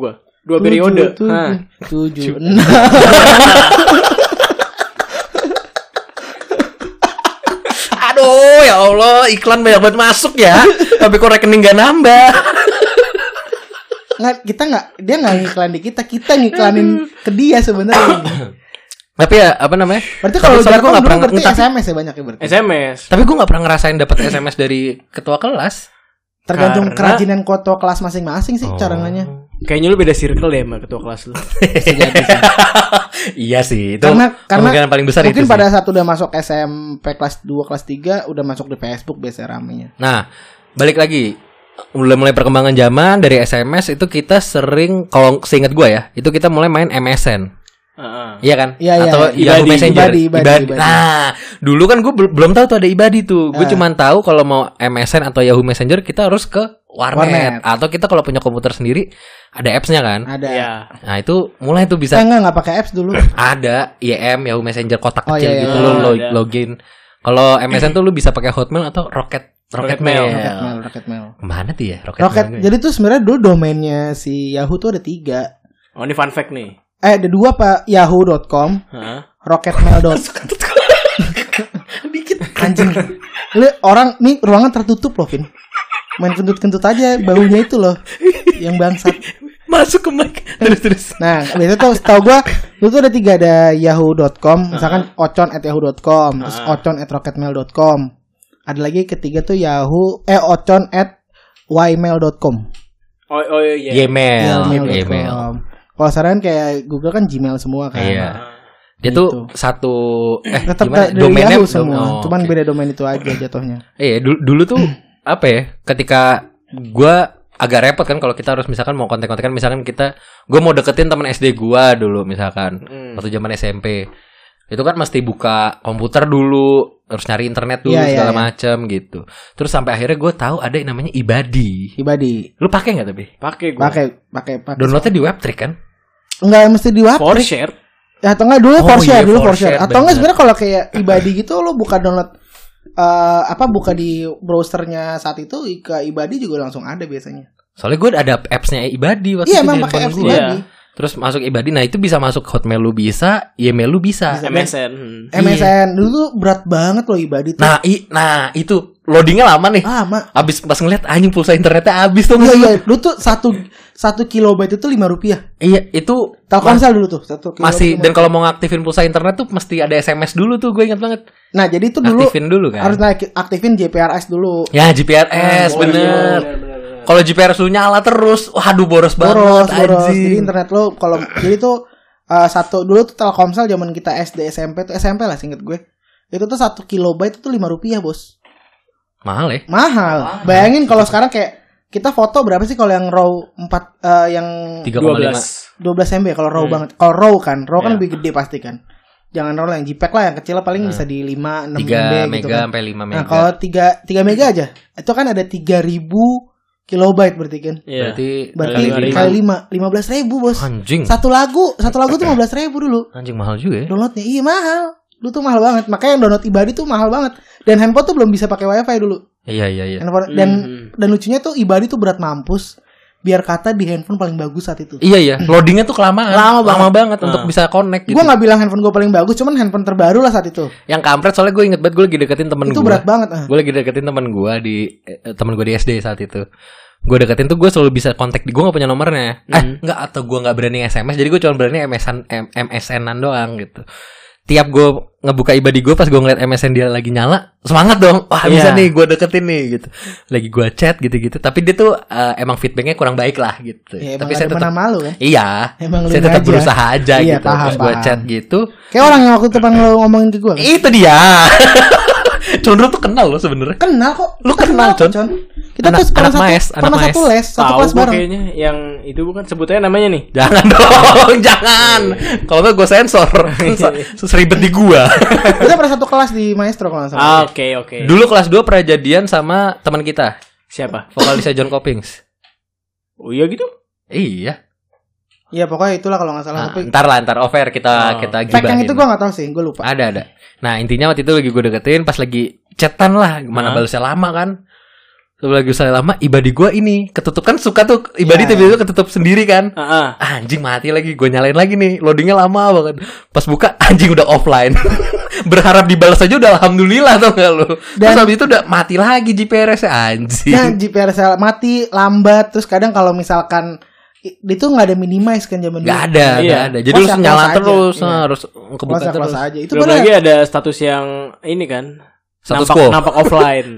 C: gua. Dua periode.
A: Tujuh,
C: Nah,
A: tujuh, tujuh.
B: Aduh ya Allah iklan banyak banget masuk ya Tapi kok rekening gak nambah
A: nggak kita nggak dia nggak ngiklan di kita kita ngiklanin ke dia sebenarnya
B: Tapi ya apa namanya
A: berarti
B: Tapi
A: kalau
B: soalnya
A: jargon
B: gua
A: dulu
B: nggak
A: berarti
B: pernah Eh, entah-
A: SMS ya banyak ya berarti
C: SMS.
B: Tapi gue gak pernah ngerasain dapat SMS dari ketua kelas
A: tergantung
C: Karena-
A: kerajinan ketua kelas masing-masing sih caranya
C: Kayaknya lu beda circle deh sama ketua kelas lu.
B: Iya sih itu
A: karena karena
B: kemungkinan paling besar
A: mungkin
B: itu sih.
A: pada saat udah masuk SMP kelas 2 kelas 3 udah masuk di Facebook biasanya ramenya
B: Nah balik lagi mulai mulai perkembangan zaman dari SMS itu kita sering kalau seingat gue ya itu kita mulai main MSN
C: Heeh.
B: Iya kan?
A: Iya, iya,
B: Atau
A: iya.
B: Yahoo
C: Ibadi,
B: Messenger.
A: ibadi, ibadi, ibadi.
B: Nah, dulu kan gue belum tahu tuh ada ibadi tuh. Gue
A: Ah.
B: cuman tahu kalau mau MSN atau Yahoo Messenger kita harus ke warnet.
A: Warnet.
B: Atau kita kalau punya komputer sendiri ada appsnya kan.
A: Ada.
C: Iya.
B: Nah itu mulai tuh
A: Saya
B: bisa
A: enggak enggak pakai apps dulu.
B: ada IM Yahoo Messenger kotak
A: Oh,
B: kecil
A: iya, iya.
B: gitu lo
C: Oh,
B: lo-
C: ada.
B: login. Kalau MSN tuh lu bisa pakai Hotmail atau Rocket Rocket,
C: Rocket
B: Mail.
C: Mail.
A: Rocket
B: Oh.
A: mail, rocket mail.
B: Kemana tuh ya Rocket,
A: Rocket.
B: Mail?
A: Jadi tuh sebenarnya dulu domainnya si Yahoo tuh ada tiga.
C: Oh ini fun fact nih.
A: Eh ada dua pak Yahoo.com,
C: Hah?
A: Rocketmail.com.
B: dikit.
A: Anjing. Lu orang nih ruangan tertutup loh, Vin. Main kentut-kentut aja baunya itu loh. Yang bangsat.
C: Masuk ke mic. Terus terus.
A: Nah, biasanya tuh setahu gua lu tuh ada tiga ada yahoo.com, misalkan ocon at yahoo.com, terus ocon at rocketmail.com. Ada lagi ketiga tuh yahoo eh ocon at ymail.com.
C: Oh oh iya.
B: Gmail,
A: Ymail.com.
B: Gmail.
A: Kalau saran kayak Google kan Gmail semua kan.
B: Iya. Dia
A: Gitu.
B: tuh satu eh
A: Tetap
B: gimana?
A: dari
B: domainnya
A: Yahoo semua,
B: oh,
A: cuman
B: oke.
A: beda domain itu aja jatuhnya.
B: Iya, dulu, dulu tuh apa ya? Ketika gua agak repot kan kalau kita harus misalkan mau kontak-kontakan misalkan kita gua mau deketin teman SD gua dulu misalkan
C: Hmm.
B: waktu zaman SMP. Itu kan mesti buka komputer dulu, harus nyari internet dulu
A: Iya, iya,
B: segala
A: iya.
B: macam gitu. Terus sampai akhirnya gua tahu ada yang namanya Ibadi.
A: Ibadi.
B: Lu pakai nggak tapi?
C: Pakai gue.
A: Pakai pakai pakai.
B: Downloadnya di Webtrick kan?
A: Enggak mesti di Wapri.
C: For share.
A: Ya, atau enggak dulu
B: Oh,
A: for share
B: iya,
A: dulu
B: for
A: for share.
B: share,
A: Atau enggak
B: benar.
A: sebenarnya kalau kayak ibadi gitu lo buka download eh, apa buka di browsernya saat itu ke ibadi juga langsung ada biasanya.
B: Soalnya gue ada apps-nya Ibadi waktu
A: Iya
B: itu di
A: memang pakai
B: handphone
A: apps
B: gua.
A: ibadi.
B: Terus masuk Ibadi, nah itu bisa masuk Hotmail lu bisa, Gmail lu bisa.
A: Bisa.
C: MSN. Hmm.
B: Iya.
A: MSN dulu tuh berat banget loh ibadi tuh.
B: Nah, i, nah itu loadingnya lama nih.
A: Ah, mak.
B: Abis pas ngeliat anjing pulsa internetnya habis tuh.
A: Iya
B: Mas.
A: iya, dulu tuh satu satu kilobyte itu lima rupiah.
B: Iya, itu
A: Telkomsel Iya, dulu tuh satu kilobyte
B: masih
A: lima
B: dan
A: rupiah.
B: kalau mau ngaktifin pulsa internet tuh mesti ada SMS dulu tuh, gue ingat banget.
A: Nah jadi itu dulu
B: Aktifin dulu kan.
A: harus Ah, naik aktifin JPRS dulu.
B: Ya, GPRS bener.
C: Oh, iya, bener, bener.
B: Kalau GPRS lu nyala terus, waduh boros banget
A: boros boros
B: anjing.
A: jadi internet lo kalau jadi tuh eh, satu dulu tuh telkomsel zaman kita SD SMP tuh SMP lah singkat gue itu tuh satu kilobyte itu lima rupiah bos
B: Mahal ya?
A: mahal bayangin kalau sekarang kayak kita foto berapa sih kalau yang raw empat eh, yang
B: 3,5.
A: 12 MB kalau raw
C: Hmm.
A: banget kalau raw kan raw kan
C: Iya.
A: lebih gede pasti kan jangan raw lah yang JPEG lah yang kecil lah paling bisa di 5 6 MB
B: 3
A: gitu
B: mega
A: kan
B: sampai 5
A: nah
B: mega.
A: kalau 3 3 mega aja itu kan ada 3000 kilobyte berarti kan
C: Iya.
B: Berarti
A: berarti
C: Kali lima.
A: kali 5 15 ribu bos
B: anjing.
A: satu lagu satu lagu tuh 15 ribu dulu
B: Anjing mahal juga ya.
A: downloadnya iya mahal dulu tuh mahal banget makanya yang download ibadi tuh mahal banget dan handphone tuh belum bisa pakai wifi dulu
B: Iya iya iya.
A: handphone dan
C: Mhm.
A: dan lucunya tuh ibadi tuh berat mampus biar kata di handphone paling bagus saat itu
B: Iya iya, loadingnya tuh kelamaan.
A: Lama banget.
B: banget
C: Nah.
B: untuk bisa connect gitu.
A: Gua nggak bilang handphone gue paling bagus cuman handphone terbaru lah saat itu
B: Yang kampret soalnya gue inget banget gue lagi deketin temen
A: itu
B: gue.
A: berat banget ah.
B: Gue lagi deketin temen gue di eh, temen gue di SD saat itu. Gue deketin tuh gue selalu bisa kontak di gue gak punya nomornya. Eh
A: Hmm.
B: nggak atau gue nggak berani SMS jadi gue cuma berani MSN M- MSN-an doang gitu. Tiap gue ngebuka ibadi gue pas gue ngeliat MSN dia lagi nyala, semangat dong. Wah bisa
C: Iya.
B: nih gue deketin nih gitu. Lagi gue chat gitu-gitu. Tapi dia tuh eh, emang feedbacknya kurang baik lah gitu.
A: ya, emang
B: Tapi saya
A: ada mana
B: tetap
A: malu kan
B: Iya,
A: Emang lu
B: saya tetap
A: aja.
B: berusaha aja
A: Iya,
B: gitu.
A: paham,
B: Terus gua
A: paham.
B: chat gitu.
A: kayak orang yang waktu depan lo ngomongin ke gue kan?
B: Itu dia. Condro tuh kenal loh sebenarnya.
A: kenal kok
B: Lu
A: Kita
B: kenal,
A: kok,
B: Con.
A: kita
B: Anak-
A: tuh pernah
B: anak
A: satu
B: maes, anak
A: pernah
B: maes.
A: satu les satu
C: Tahu
A: kelas
C: gua
A: bareng
C: kayaknya yang itu bukan sebutannya namanya nih.
B: Jangan dong, jangan. Kalau nggak gue sensor, seribet di gua.
A: kita pernah satu kelas di maestro kalau nggak salah
C: Ah, Oke oke.
B: Dulu kelas 2 pernah jadian sama teman kita,
C: Siapa?
B: vokalisnya John Coppings.
C: Oh iya gitu.
B: Iya.
A: Iya pokoknya itulah kalau nggak salah
B: Nah,
A: tapi
B: ntar lah, ntar over kita
C: Oh.
B: kita
A: Fact yang
B: gibahin.
A: itu gua gak tahu sih, gue lupa.
B: Ada ada. Nah intinya waktu itu lagi gue deketin pas lagi chatan lah, mana
C: Hah?
B: balasnya lama kan. Terus lagi saya lama, ibadi gue ini ketutup kan suka tuh ibadi
A: Iya.
B: tiba tiba ketutup sendiri kan.
C: Ah, ah.
B: Anjing mati lagi, gue nyalain lagi nih, loadingnya lama banget. Pas buka anjing udah offline. Berharap dibalas aja udah alhamdulillah tau gak lu. Terus
A: Dan-
B: habis itu udah mati lagi GPRS anjing.
A: Nah, GPRS mati lambat terus kadang kalau misalkan i- itu nggak ada minimize kan zaman
B: Gak ada,
C: Iya.
B: gak ada. Jadi
A: Close
B: lu
A: ya, close
B: nyala
A: aja.
B: terus,
A: Iya.
B: nah, harus kebuka
A: Kelas
B: terus.
A: kelas aja. Itu
C: Belum
A: benar.
C: lagi ada status yang ini kan.
B: Status
C: nampak
B: quo.
C: nampak offline.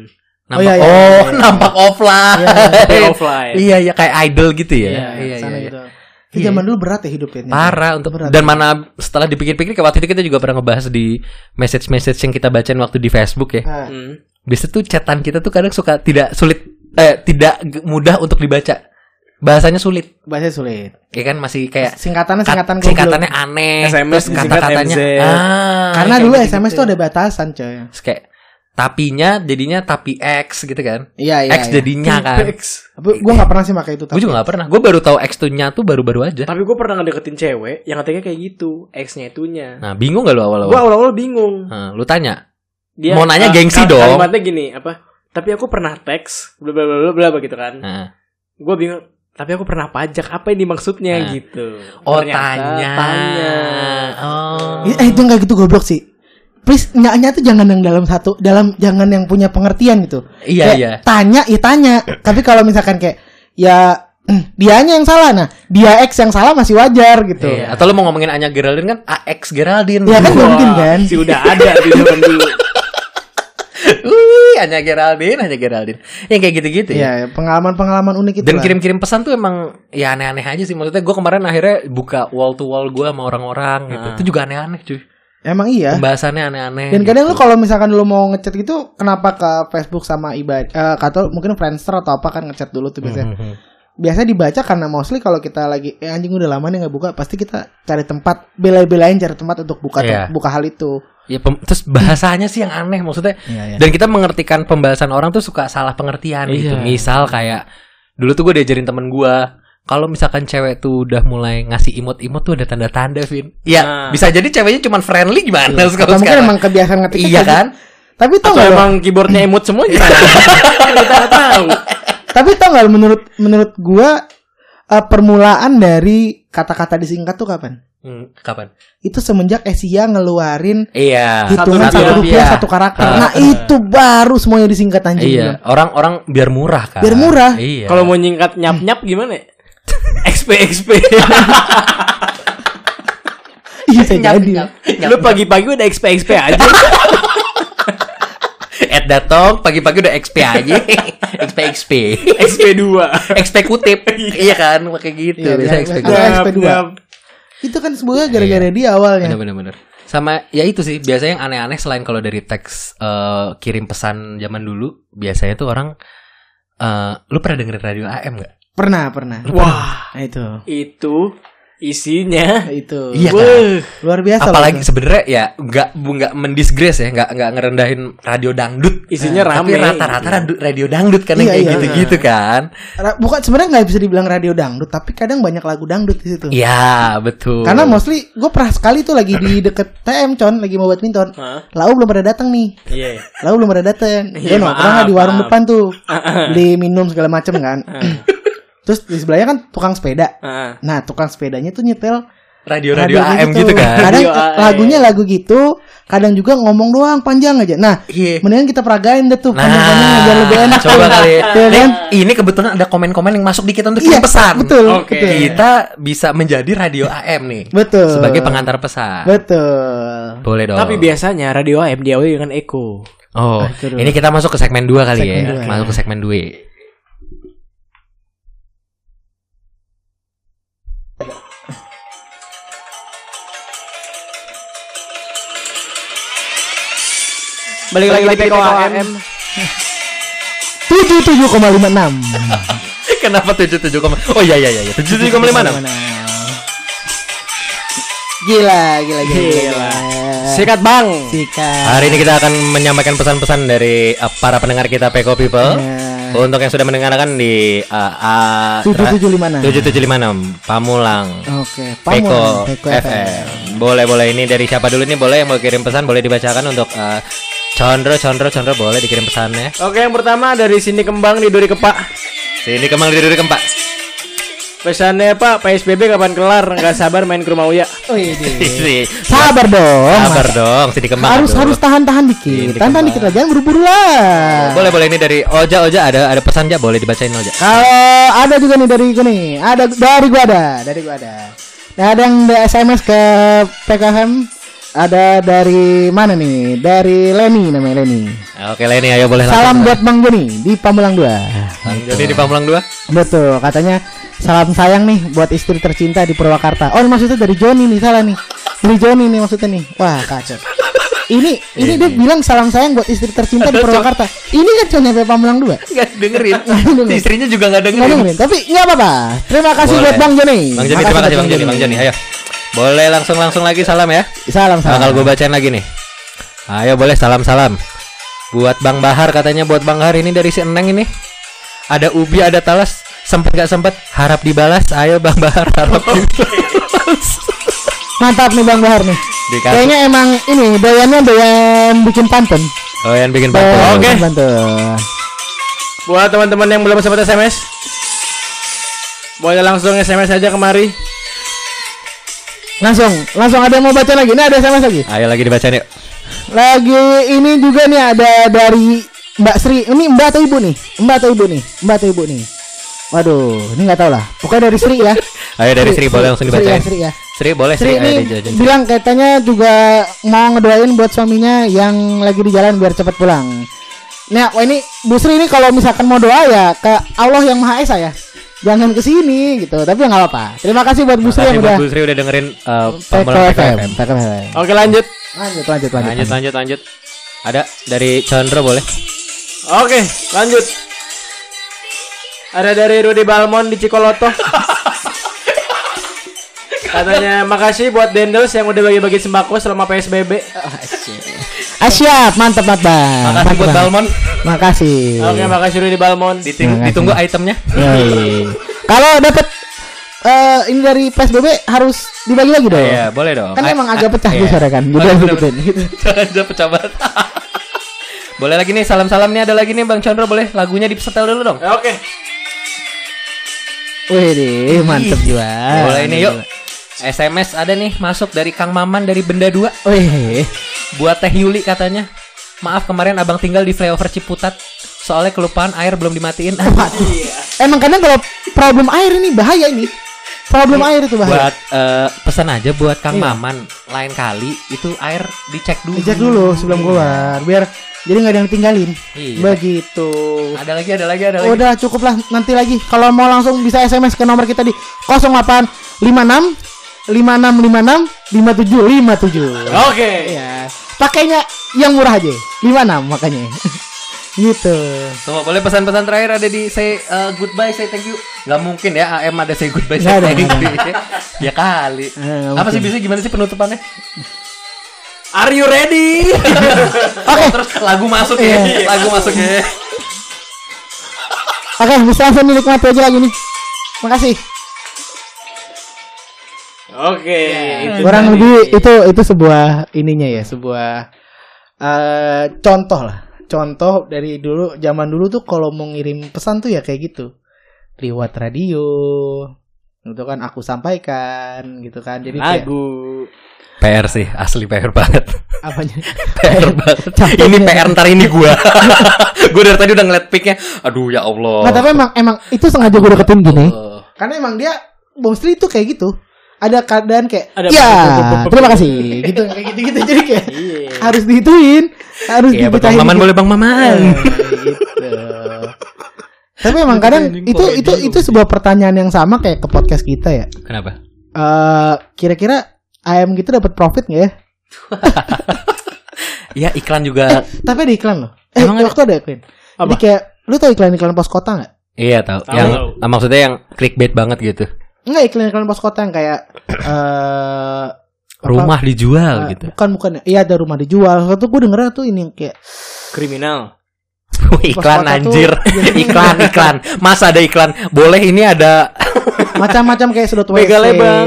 B: Nampak, oh,
A: iya, iya, iya.
B: nampak offline.
C: Nampak offline.
B: Iya iya kayak idol gitu ya.
C: Iya,
B: Iya
A: Sana
B: iya.
A: gitu.
B: Iya.
A: Itu zaman dulu berat ya hidupnya.
B: Parah untuk
A: Berat.
B: dan mana setelah dipikir-pikir kayak waktu itu kita juga pernah ngebahas di message-message yang kita bacain waktu di Facebook ya.
A: Nah,
C: Hmm.
B: Biasanya tuh chatan kita tuh kadang suka tidak sulit eh tidak g- mudah untuk dibaca. Bahasanya sulit.
A: bahasanya sulit.
B: Ya kan masih kayak
A: Singkatannya
B: kat-
A: singkatan goblok.
B: singkatannya aneh. terus
C: SMS disingkat
B: kata-katanya.
C: MZ.
B: Ah, iya.
A: Karena
B: kayak
A: dulu
B: gitu-gitu.
A: SMS tuh ada batasan, coy.
B: Terus kayak tapinya jadinya tapi X gitu kan.
A: Iya iya.
B: X jadinya kan.
A: Tapi gue nggak pernah sih pakai itu.
B: Gue juga gak pernah. Gue baru tahu X tuh nya tuh baru-baru aja.
C: Tapi gue pernah ngedeketin cewek yang katanya kayak gitu, X-nya itunya.
B: Nah, bingung gak lu awal-awal?
C: Gue awal-awal bingung.
B: Nah, lu tanya.
C: Dia
B: Mau nanya
C: ah,
B: gengsi
C: kal-
B: dong.
C: Kalimatnya gini, apa? Tapi aku pernah teks, bla bla bla bla bla begitu kan.
B: Nah,
C: Gue bingung. Tapi aku pernah pajak, apa ini maksudnya
B: Nah.
C: gitu.
B: oh,
C: Ternyata
B: tanya.
C: Tanya.
B: Oh.
A: Eh itu nggak gitu goblok sih. Please nyanya tuh jangan yang dalam satu dalam jangan yang punya pengertian gitu.
B: Iya,
A: Kayak
B: iya.
A: Tanya ya tanya. Tapi kalau misalkan kayak ya hmm, dianya yang salah nah dia X yang salah masih wajar gitu.
B: Iya, Atau lu mau ngomongin Anya Geraldine kan AX Geraldine.
A: Ya kan nggak mungkin kan.
C: Si udah ada di zaman dulu.
B: Wih, Anya Geraldine, Anya Geraldine. Yang kayak gitu-gitu ya.
A: Iya pengalaman-pengalaman unik itu.
B: Dan kirim-kirim pesan tuh emang ya aneh-aneh aja sih. Maksudnya gue kemarin akhirnya buka wall to wall gue sama orang-orang gitu. Itu juga aneh-aneh cuy.
A: Emang iya.
B: Pembahasannya aneh-aneh. gitu.
A: Dan kadang lu kalau misalkan lu mau ngechat gitu, kenapa ke Facebook sama ibadah eh, atau mungkin Friendster atau apa kan ngechat dulu tuh biasanya.
B: Mhm.
A: Biasanya dibaca karena mostly kalau kita lagi eh, anjing udah lama nih nggak buka, pasti kita cari tempat bela-belain cari tempat untuk buka
B: Iya.
A: buka hal itu.
B: Ya, pem- terus bahasanya sih yang aneh maksudnya.
A: Iya, iya.
B: Dan kita mengertikan pembahasan orang tuh suka salah pengertian gitu.
C: Iya.
B: Misal kayak dulu tuh gue diajarin temen gue kalau misalkan cewek tuh udah mulai ngasih imut-imut tuh ada tanda-tanda, Vin.
C: Nah.
B: Ya, bisa jadi ceweknya cuman friendly gimana
A: Iya. Atau
B: sekarang
A: mungkin
B: sekarang.
A: emang kebiasaan ngetik
B: Iya kan?
A: Tapi tau
C: Atau
A: gak
C: emang keyboardnya emot semua gimana? Kita nggak tahu.
A: tapi tau gak lu, menurut menurut gua eh, permulaan dari kata-kata disingkat tuh kapan?
B: Hmm, kapan?
A: Itu semenjak Asia ngeluarin
B: Iya.
A: hitungan
C: satu
A: satu rupiah
B: rupiah.
A: satu karakter.
B: Ah.
A: Nah itu baru semuanya disingkat anjing.
B: Iya, orang-orang biar murah kan.
A: Biar murah.
B: Iya.
C: Kalau mau nyingkat nyap-nyap gimana? ya? XP XP.
A: Iya bisa
B: Nyap,
A: jadi.
B: nyap.
C: Lu pagi-pagi udah XP XP aja.
B: Ed datang pagi-pagi udah XP aja. XP XP.
C: XP 2.
B: Eksekutif. iya kan, kayak gitu.
A: Iya,
B: Biasa
A: iya.
B: eksekutif.
A: Ada XP 2. Itu kan semuanya gara-gara dia awalnya.
B: Bener bener bener. Sama ya itu sih biasanya yang aneh-aneh selain kalau dari teks eh, kirim pesan zaman dulu biasanya tuh orang eh, lu pernah dengerin radio AM gak?
A: Pernah pernah.
C: Wah,
A: Nah, itu.
C: itu isinya.
A: Nah, Itu.
B: Iya kan?
C: Wah,
A: Luar biasa. loh
B: Apalagi
A: itu.
B: sebenarnya ya nggak bu nggak mendisgrace ya nggak nggak ngerendahin radio dangdut.
C: Isinya
B: Tapi
C: rame.
B: rata-rata radu- radio dangdut kan yang
A: Iya,
B: kayak
A: iya.
B: gitu-gitu kan.
A: Ra- bukan sebenarnya nggak bisa dibilang radio dangdut, tapi kadang banyak lagu dangdut di situ.
B: Iya betul.
A: Karena mostly gue pernah sekali tuh lagi di deket TM con lagi mau badminton.
C: Hah?
A: Lau belum pada datang nih.
C: Iya.
A: Lau belum pada datang.
C: Iya,
A: Dia nongkrong
C: maaf,
A: lah di warung
C: maaf.
A: depan tuh.
B: Ah,
A: Beli minum segala macem kan. Terus di sebelahnya kan tukang sepeda.
C: Ah.
A: Nah, tukang sepedanya tuh nyetel
B: radio radio, AM gitu, kan.
A: Kadang
C: Radio AM.
A: lagunya lagu gitu, kadang juga ngomong doang panjang aja. Nah,
B: Iya.
A: mendingan kita peragain deh tuh panjang-panjang
B: Nah,
A: aja lebih enak.
B: coba kali. ya.
A: Iya
B: Nih,
A: kan?
B: ini kebetulan ada komen-komen yang masuk dikit untuk
A: Iya,
B: kirim pesan.
A: Betul,
C: Oke.
A: betul.
B: Kita bisa menjadi radio AM nih.
A: Betul.
B: Sebagai pengantar pesan.
A: Betul.
B: Boleh dong.
C: Tapi biasanya radio AM diawali dengan eko.
A: Ah,
B: Oh,
A: itu dulu.
B: ini kita masuk ke segmen 2 kali
A: Segmen
B: ya.
A: dua.
B: Masuk ke segmen 2.
C: Balik lagi di Eko AM.
A: 77,56.
B: Kenapa 77, Oh iya iya iya 77,56.
A: Gila, gila, gila.
C: Gila.
A: gila.
C: Sikat Bang.
A: Sikat.
B: Hari ini kita akan menyampaikan pesan-pesan dari eh, para pendengar kita Peko People.
A: Iya.
B: Untuk yang sudah mendengarkan di eh, eh,
A: 77,56.
B: 7756 Pamulang.
A: Oke,
B: Peko,
A: Pamulang, Peko FM.
B: FM. Boleh boleh ini dari siapa dulu nih boleh yang mau kirim pesan boleh dibacakan untuk eh, Condro Condro Condro boleh dikirim ya. pesannya.
C: Oke, yang pertama dari sini kembang di Duri Kepak.
B: Sini kemang diri kempak.
C: Pesannya Pak, PSBB kapan kelar? Nggak sabar main ke rumah Uya.
A: Oh, iya, iya.
B: Sini.
A: Sabar dong.
B: Sabar dong, sini kemang.
A: harus
B: aduh.
A: harus tahan-tahan dikit. Tahan-tahan dikit lah, jangan buru-buru lah.
B: Boleh boleh ini dari Oja Oja ada ada pesan ja boleh dibacain Oja.
A: Kalau ada juga nih dari gue nih, ada dari gua ada, dari gua ada. Nah, ada yang di SMS ke PKM ada dari mana nih? Dari Leni namanya Leni.
B: Oke Leni ayo boleh
A: Salam
B: langsung.
A: buat Bang Joni di Pamulang 2.
B: Bang Joni di Pamulang 2.
A: Betul, katanya salam sayang nih buat istri tercinta di Purwakarta. Oh, ini maksudnya dari Joni nih, salah nih. Dari Joni nih maksudnya nih. Wah, kacau. Ini ini dia bilang salam sayang buat istri tercinta di Purwakarta. Ini kan Joni sampai Pamulang 2.
B: Enggak dengerin.
A: dengerin.
B: Istrinya juga enggak
A: Nggak dengerin, tapi nggak apa-apa. Terima kasih
B: Boleh.
A: buat Bang Joni.
B: Bang Joni terima kasih Bang Joni Bang Joni ayo. Boleh langsung langsung lagi salam ya.
A: Salam salam.
B: Bakal gue bacain lagi nih. Ayo boleh salam salam. Buat Bang Bahar katanya buat Bang Bahar ini dari si Eneng ini. Ada ubi, ada talas. Sempet gak sempet harap dibalas. Ayo Bang Bahar harap dibalas.
A: Mantap nih Bang Bahar nih.
B: Dikasih.
A: Kayaknya emang ini doyannya doyan bikin pantun.
B: Oh, yang bikin
A: Doyan
B: pantun.
A: bikin Pantun.
C: Buat teman-teman yang belum sempat SMS Boleh langsung SMS aja kemari
A: Langsung, langsung ada yang mau baca lagi. Ini ada SMS lagi.
B: Ayo lagi dibacain yuk.
A: Lagi ini juga nih ada dari Mbak Sri. Ini Mbak atau Ibu nih? Mbak atau Ibu nih? Mbak atau Ibu nih? Waduh, ini nggak tahu lah. Pokoknya dari Sri ya.
B: Ayo dari Sri boleh langsung
A: Sri
B: dibacain.
A: ya. Sri ya.
B: Sri boleh
A: Sri
B: Sri, ayo
A: ini
B: dijajin.
A: bilang katanya juga mau ngedoain buat suaminya yang lagi di jalan biar cepat pulang. Nah, wah ini Bu Sri ini kalau misalkan mau doa ya ke Allah yang Maha Esa ya. Jangan ke sini gitu, tapi ya nggak apa-apa. Terima kasih buat Bu Sri
B: Makasih
A: yang udah
B: buat Bu Sri udah dengerin uh,
A: Teko
B: Pamulang
A: FM.
B: TKFM.
A: Teko FM.
C: Oke lanjut
A: Lanjut, lanjut, lanjut.
B: Lanjut lanjut lanjut. Ada dari Chandra boleh.
C: Oke lanjut Ada dari Rudy Balmon di Cikoloto Katanya makasih buat Dendels yang udah bagi-bagi sembako selama PSBB
A: Ah, siap, mantap, mantap. Bang.
B: Makasih
A: Mantap,
B: buat
A: Bang.
B: Balmon.
A: Makasih.
C: Oke makasih Rudy Balmon
B: Diting- Ditunggu itemnya.
A: Yoi. Kalau dapat eh ini dari PSBB harus dibagi-bagi dong.
B: Iya, boleh dong.
A: Kan
B: A-
A: emang
B: a-
A: agak pecah
B: iya.
A: di sore kan. Jadi
B: Boleh,
A: aku
B: boleh,
A: ikutin,
B: boleh.
A: gitu.
B: Jangan jangan pecah banget. boleh lagi nih salam-salam nih ada lagi nih Bang Chandra boleh lagunya disetel dulu dong.
C: Eh, Oke
A: Wih, deh, mantep jiwa.
B: boleh ini yuk. SMS ada nih masuk dari Kang Maman dari Benda 2
A: Wih,
B: buat Teh Yuli katanya. Maaf kemarin abang tinggal di flyover Ciputat soalnya kelupaan air belum dimatiin.
A: waduh. Emang kadang kalau problem air ini bahaya ini. Problem air itu bahaya.
B: buat eh, pesan aja buat Kang Maman lain kali itu air dicek dulu.
A: Ejak dulu sebelum keluar biar jadi nggak ada yang tinggalin.
B: Iya.
A: Begitu.
B: Ada lagi, ada lagi, ada lagi.
A: Udah cukup lah nanti lagi kalau mau langsung bisa SMS ke nomor kita di 08 56 5656 5757.
C: Oke
A: Iya. Pakainya yang murah aja. 56 makanya. gitu.
B: Coba boleh pesan-pesan terakhir ada di say uh, goodbye, say thank you. Gak mungkin ya AM ada say goodbye, say
A: Nggak ada,
B: thank
A: nggak
B: you. ya kali.
A: nggak
B: Apa sih
A: mungkin.
B: bisa gimana sih penutupannya?
C: Are you ready?
B: Oke. Terus lagu masuk ya,
A: Iya.
B: lagu masuk ya.
A: Oke, bisa langsung dinikmati aja lagi nih. Makasih.
C: Oke Iya, itu
A: Kurang
C: tadi.
A: lebih itu itu sebuah ininya ya, sebuah eh contoh lah. Contoh dari dulu zaman dulu tuh kalau mau ngirim pesan tuh ya kayak gitu. Lewat radio. Itu kan aku sampaikan gitu kan. Jadi kayak-
C: Lagu
B: PR sih, asli PR banget.
A: apanya?
B: PR banget.
A: Capek
B: ini
A: ya.
B: PR ntar ini gua. gua dari tadi udah ngeliat picknya. Aduh ya Allah.
A: Nah, tapi emang emang itu sengaja gue deketin gini.
B: Eh,
A: Karena emang dia Bong Sri itu kayak gitu. Ada keadaan kayak
C: Ada- Iya.
A: ya terima kasih gitu kayak gitu gitu jadi kayak harus dihituin harus
B: Iya, buat Bang
A: dipecahin
B: Maman
A: dikit.
B: boleh Bang Maman.
A: gitu. Tapi emang kadang itu itu itu sebuah pertanyaan yang sama kayak ke podcast kita ya.
B: Kenapa?
A: Eh, kira-kira ayam gitu dapat profit nggak ya? Iya,
B: Ya iklan
C: Eh.
B: juga.
A: Eh, Tapi ada iklan loh. Eh,
B: Emang ada?
A: waktu ada iklan. Jadi
C: Apa?
A: kayak lu tau iklan-iklan pos kota nggak?
B: iya tahu.
C: Tahu.
B: Yang ah, maksudnya yang clickbait banget gitu.
A: Enggak iklan-iklan pos kota yang kayak eh apa-
B: Rumah dijual
A: Eh,
B: gitu.
A: Bukan bukan. Iya ada rumah dijual. Waktu gue dengernya tuh ini yang kayak
C: Kriminal
B: iklan
A: Kota tuh
B: anjir
A: jadi-
B: iklan iklan mas ada iklan boleh ini ada
A: macam-macam kayak sedot WC.
C: Mega Lebang.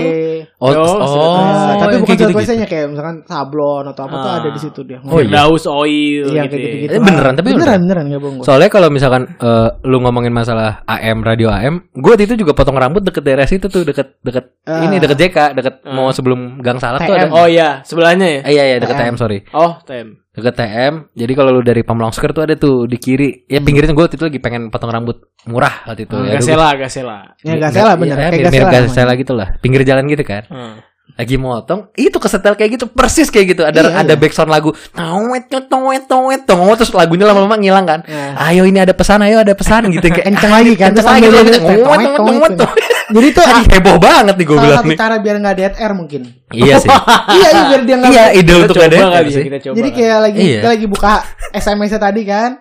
B: oh
C: Yo,
B: oh,
A: Ya, Eh, tapi
B: yang
A: bukan
B: kayak
A: sedot
B: gitu-gitu.
A: WC-nya kayak misalkan sablon atau apa tuh
C: Ah.
A: ada di situ dia.
B: Oh, iya.
C: Firdaus Oil
A: Iya,
C: gitu,
A: kayak
C: ya.
A: gitu-gitu.
B: Eh, beneran, tapi
A: beneran beneran enggak bohong. gua.
B: soalnya kalau misalkan eh, lu ngomongin masalah AM radio AM gue itu juga potong rambut deket daerah situ tuh deket deket
A: Ah.
B: ini deket JK deket mau sebelum Gang Salak tuh ada
A: TM.
C: Oh iya, sebelahnya ya.
B: Eh, iya iya deket TM sorry
C: Oh, tem.
B: deket TM jadi kalau lu dari Pamulang Square tuh ada tuh di kiri ya pinggirnya gue itu lagi pengen potong rambut murah
A: Ah,
B: waktu itu Ya,
C: Gasela, Gasela.
A: Ya enggak salah bener
B: Iya,
A: kayak
B: mirip- mirip
A: enggak
B: Gasela gitu lah pinggir jalan gitu kan
C: Hmm.
B: lagi motong itu kesetel kayak gitu persis kayak gitu ada
A: Iya,
B: ada
A: iya.
B: backsound lagu towet towet towet towet terus lagunya lama-lama ngilang kan ayo ini ada pesan ayo ada pesan gitu
A: Iya.
B: kayak
A: Kenceng lagi kan
B: kenceng
A: terus
B: lagi
A: ambil
B: lagunya,
A: lagi,
B: towet,
A: towet,
B: towet,
A: towet,
B: towet.
A: Jadi tuh
B: Aduh, heboh banget nih gue
A: salah
B: bilang
A: satu
B: nih
A: cara biar enggak DTR mungkin.
B: iya sih
A: Iya, iya biar dia enggak
B: iya ide
C: Kita
B: untuk
C: coba
B: ada
C: kali ya,
B: sih
C: kita coba.
A: Jadi
C: kali.
A: kayak lagi
B: Iya.
A: kita lagi buka SMS-nya tadi kan.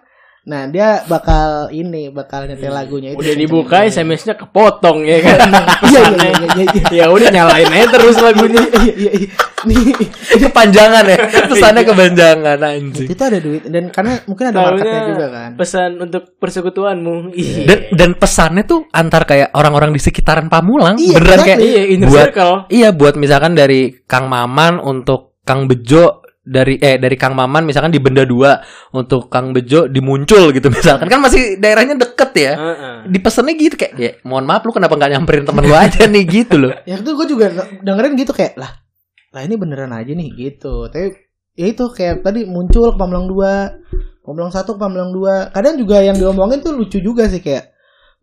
A: Nah, dia bakal ini bakal
B: Iya.
A: nyetel lagunya itu.
C: Udah dibuka SMS-nya kepotong ya kan.
A: Iya, iya, iya, iya, iya.
C: ya udah nyalain aja terus lagunya.
A: Iya, iya, iya. Nih,
B: kepanjangan ya pesannya kepanjangan anjing
A: itu ada duit dan karena mungkin ada marketnya juga kan.
C: pesan untuk persekutuanmu. Iya.
B: dan, dan pesannya tuh antar kayak orang-orang di sekitaran Pamulang
A: Iya,
B: beneran kayak
A: exactly.
C: Iya, inner
B: buat
C: circle.
B: iya buat misalkan dari Kang Maman untuk Kang Bejo dari eh dari Kang Maman misalkan di Benda Dua untuk Kang Bejo dimuncul gitu misalkan kan masih daerahnya deket ya
C: Heeh.
B: dipesannya gitu kayak ya mohon maaf lu kenapa nggak nyamperin temen lu aja nih gitu loh
A: Ya itu gue juga dengerin gitu kayak lah, lah ini beneran aja nih gitu. Tapi ya itu kayak tadi muncul ke Pamulang 2, Pamulang 1 ke Pamulang 2. Kadang juga yang diomongin tuh lucu juga sih kayak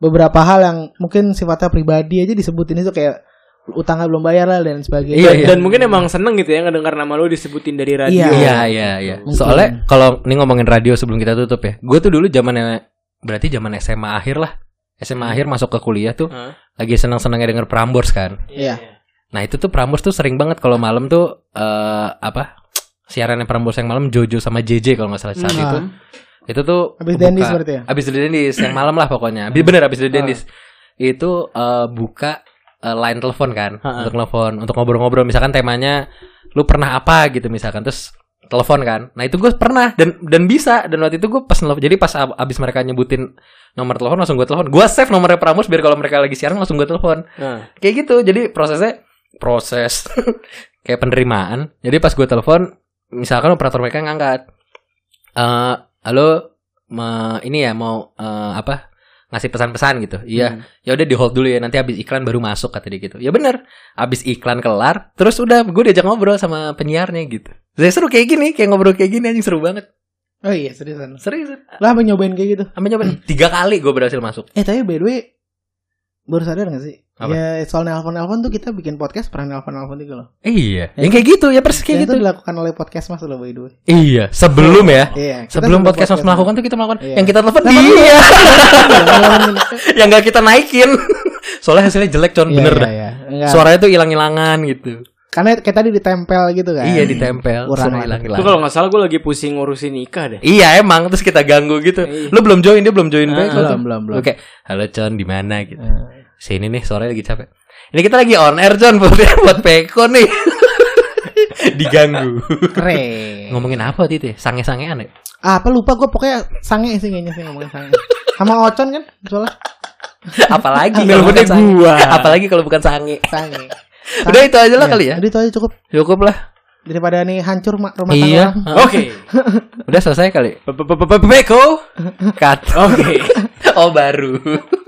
A: beberapa hal yang mungkin sifatnya pribadi aja disebutin itu kayak utangnya belum bayar lah dan sebagainya.
B: Iya,
C: Dan,
B: iya.
C: dan mungkin emang seneng gitu ya ngedengar nama lu disebutin dari radio.
A: Iya.
B: Iya iya iya.
A: Mungkin.
B: Soalnya kalau ini ngomongin radio sebelum kita tutup ya. Gue tuh dulu zamannya berarti zaman SMA akhir lah. SMA akhir masuk ke kuliah tuh
C: Heeh.
B: lagi senang-senangnya denger Prambors kan.
A: Iya.
B: Nah, itu tuh Prambors tuh sering banget kalau malam tuh eh apa? Siarannya Prambors yang malam Jojo sama JJ kalau nggak salah saat
A: Hmm.
B: itu. Itu tuh
A: Abis
B: buka-
A: Dendies berarti ya? Hmm.
B: Abis The Dendies yang malam lah pokoknya. Abis bener abis The Dendies. Itu eh, buka eh, line telepon kan
A: Hmm.
C: Ha-ha.
B: untuk telepon untuk ngobrol-ngobrol misalkan temanya lu pernah apa gitu misalkan terus telepon kan. Nah, itu gue pernah dan dan bisa dan waktu itu gue pas nelfon. Jadi pas ab- abis mereka nyebutin nomor telepon langsung gue telepon. Gue save nomornya Prambors biar kalau mereka lagi siaran langsung gue telepon
C: Heeh.
B: kayak gitu jadi prosesnya proses kayak penerimaan jadi pas gue telepon misalkan operator mereka ngangkat Eh, halo me- ini ya mau eh, apa ngasih pesan-pesan gitu iya ya udah di hold dulu ya nanti habis iklan baru masuk kata dia gitu ya bener habis iklan kelar terus udah gue diajak ngobrol sama penyiarnya gitu saya seru kayak gini kayak ngobrol kayak gini anjing seru banget
A: Oh iya seriusan.
B: serius
A: Lah apa nyobain kayak gitu.
B: sampai nyoba tiga kali gue berhasil masuk
A: Eh tapi by the way baru sadar gak sih?
B: Apa?
A: Ya soal nelpon-nelpon tuh kita bikin podcast pernah nelpon-nelpon juga loh.
B: iya yang kayak gitu ya persis
A: Dan
B: kayak
A: itu
B: gitu
A: dilakukan oleh podcast mas loh by the way.
B: iya sebelum ya
A: Iya. kita
B: Sebelum
A: sudah
B: podcast, Mas melakukan tuh kita melakukan
A: Iya.
B: yang kita telepon
A: Telepon
B: dia,
A: Iya, ngelawan ini.
B: yang nggak kita naikin. Soalnya hasilnya jelek, con
A: Iya,
B: bener
A: iya,
B: dah.
A: iya. Enggak.
B: Suaranya tuh hilang-hilangan gitu.
A: Karena kayak tadi ditempel gitu kan.
B: Iya ditempel,
A: Kurang
B: suara
A: lagi.
C: Itu
B: hilang-hilangan.
C: kalau nggak salah gue lagi pusing ngurusin nikah deh.
B: Iya emang terus kita ganggu gitu.
C: Iya.
B: Lu belum join dia belum join back.
A: Ah, belum,
B: lu tuh.
A: belum, Ah. belum.
B: Lu kayak, halo con di mana gitu. Sini nih suaranya lagi capek. Ini kita lagi on air con buat buat peko nih. Diganggu.
A: Keren.
B: Ngomongin apa waktu itu ya? Sange-sangean ya?
A: Ah, apa lupa gue pokoknya sange sih kayaknya sih ngomongin sange. Sama Ocon kan soalnya
B: Apalagi
C: Nelfonnya
B: kalau bukan sange.
C: gua.
B: Apalagi kalau bukan sange.
A: sange.
B: Udah itu aja lah
A: Iya,
B: kali ya.
A: Udah itu aja cukup
B: Cukup lah.
A: daripada nih hancur ma- rumah tangga.
B: Iya.
A: orang.
B: Oke.
C: Oke.
B: Udah selesai kali.
C: Pe- pe- pe- pe- Peko.
B: Cut.
C: Oke.
B: oh baru.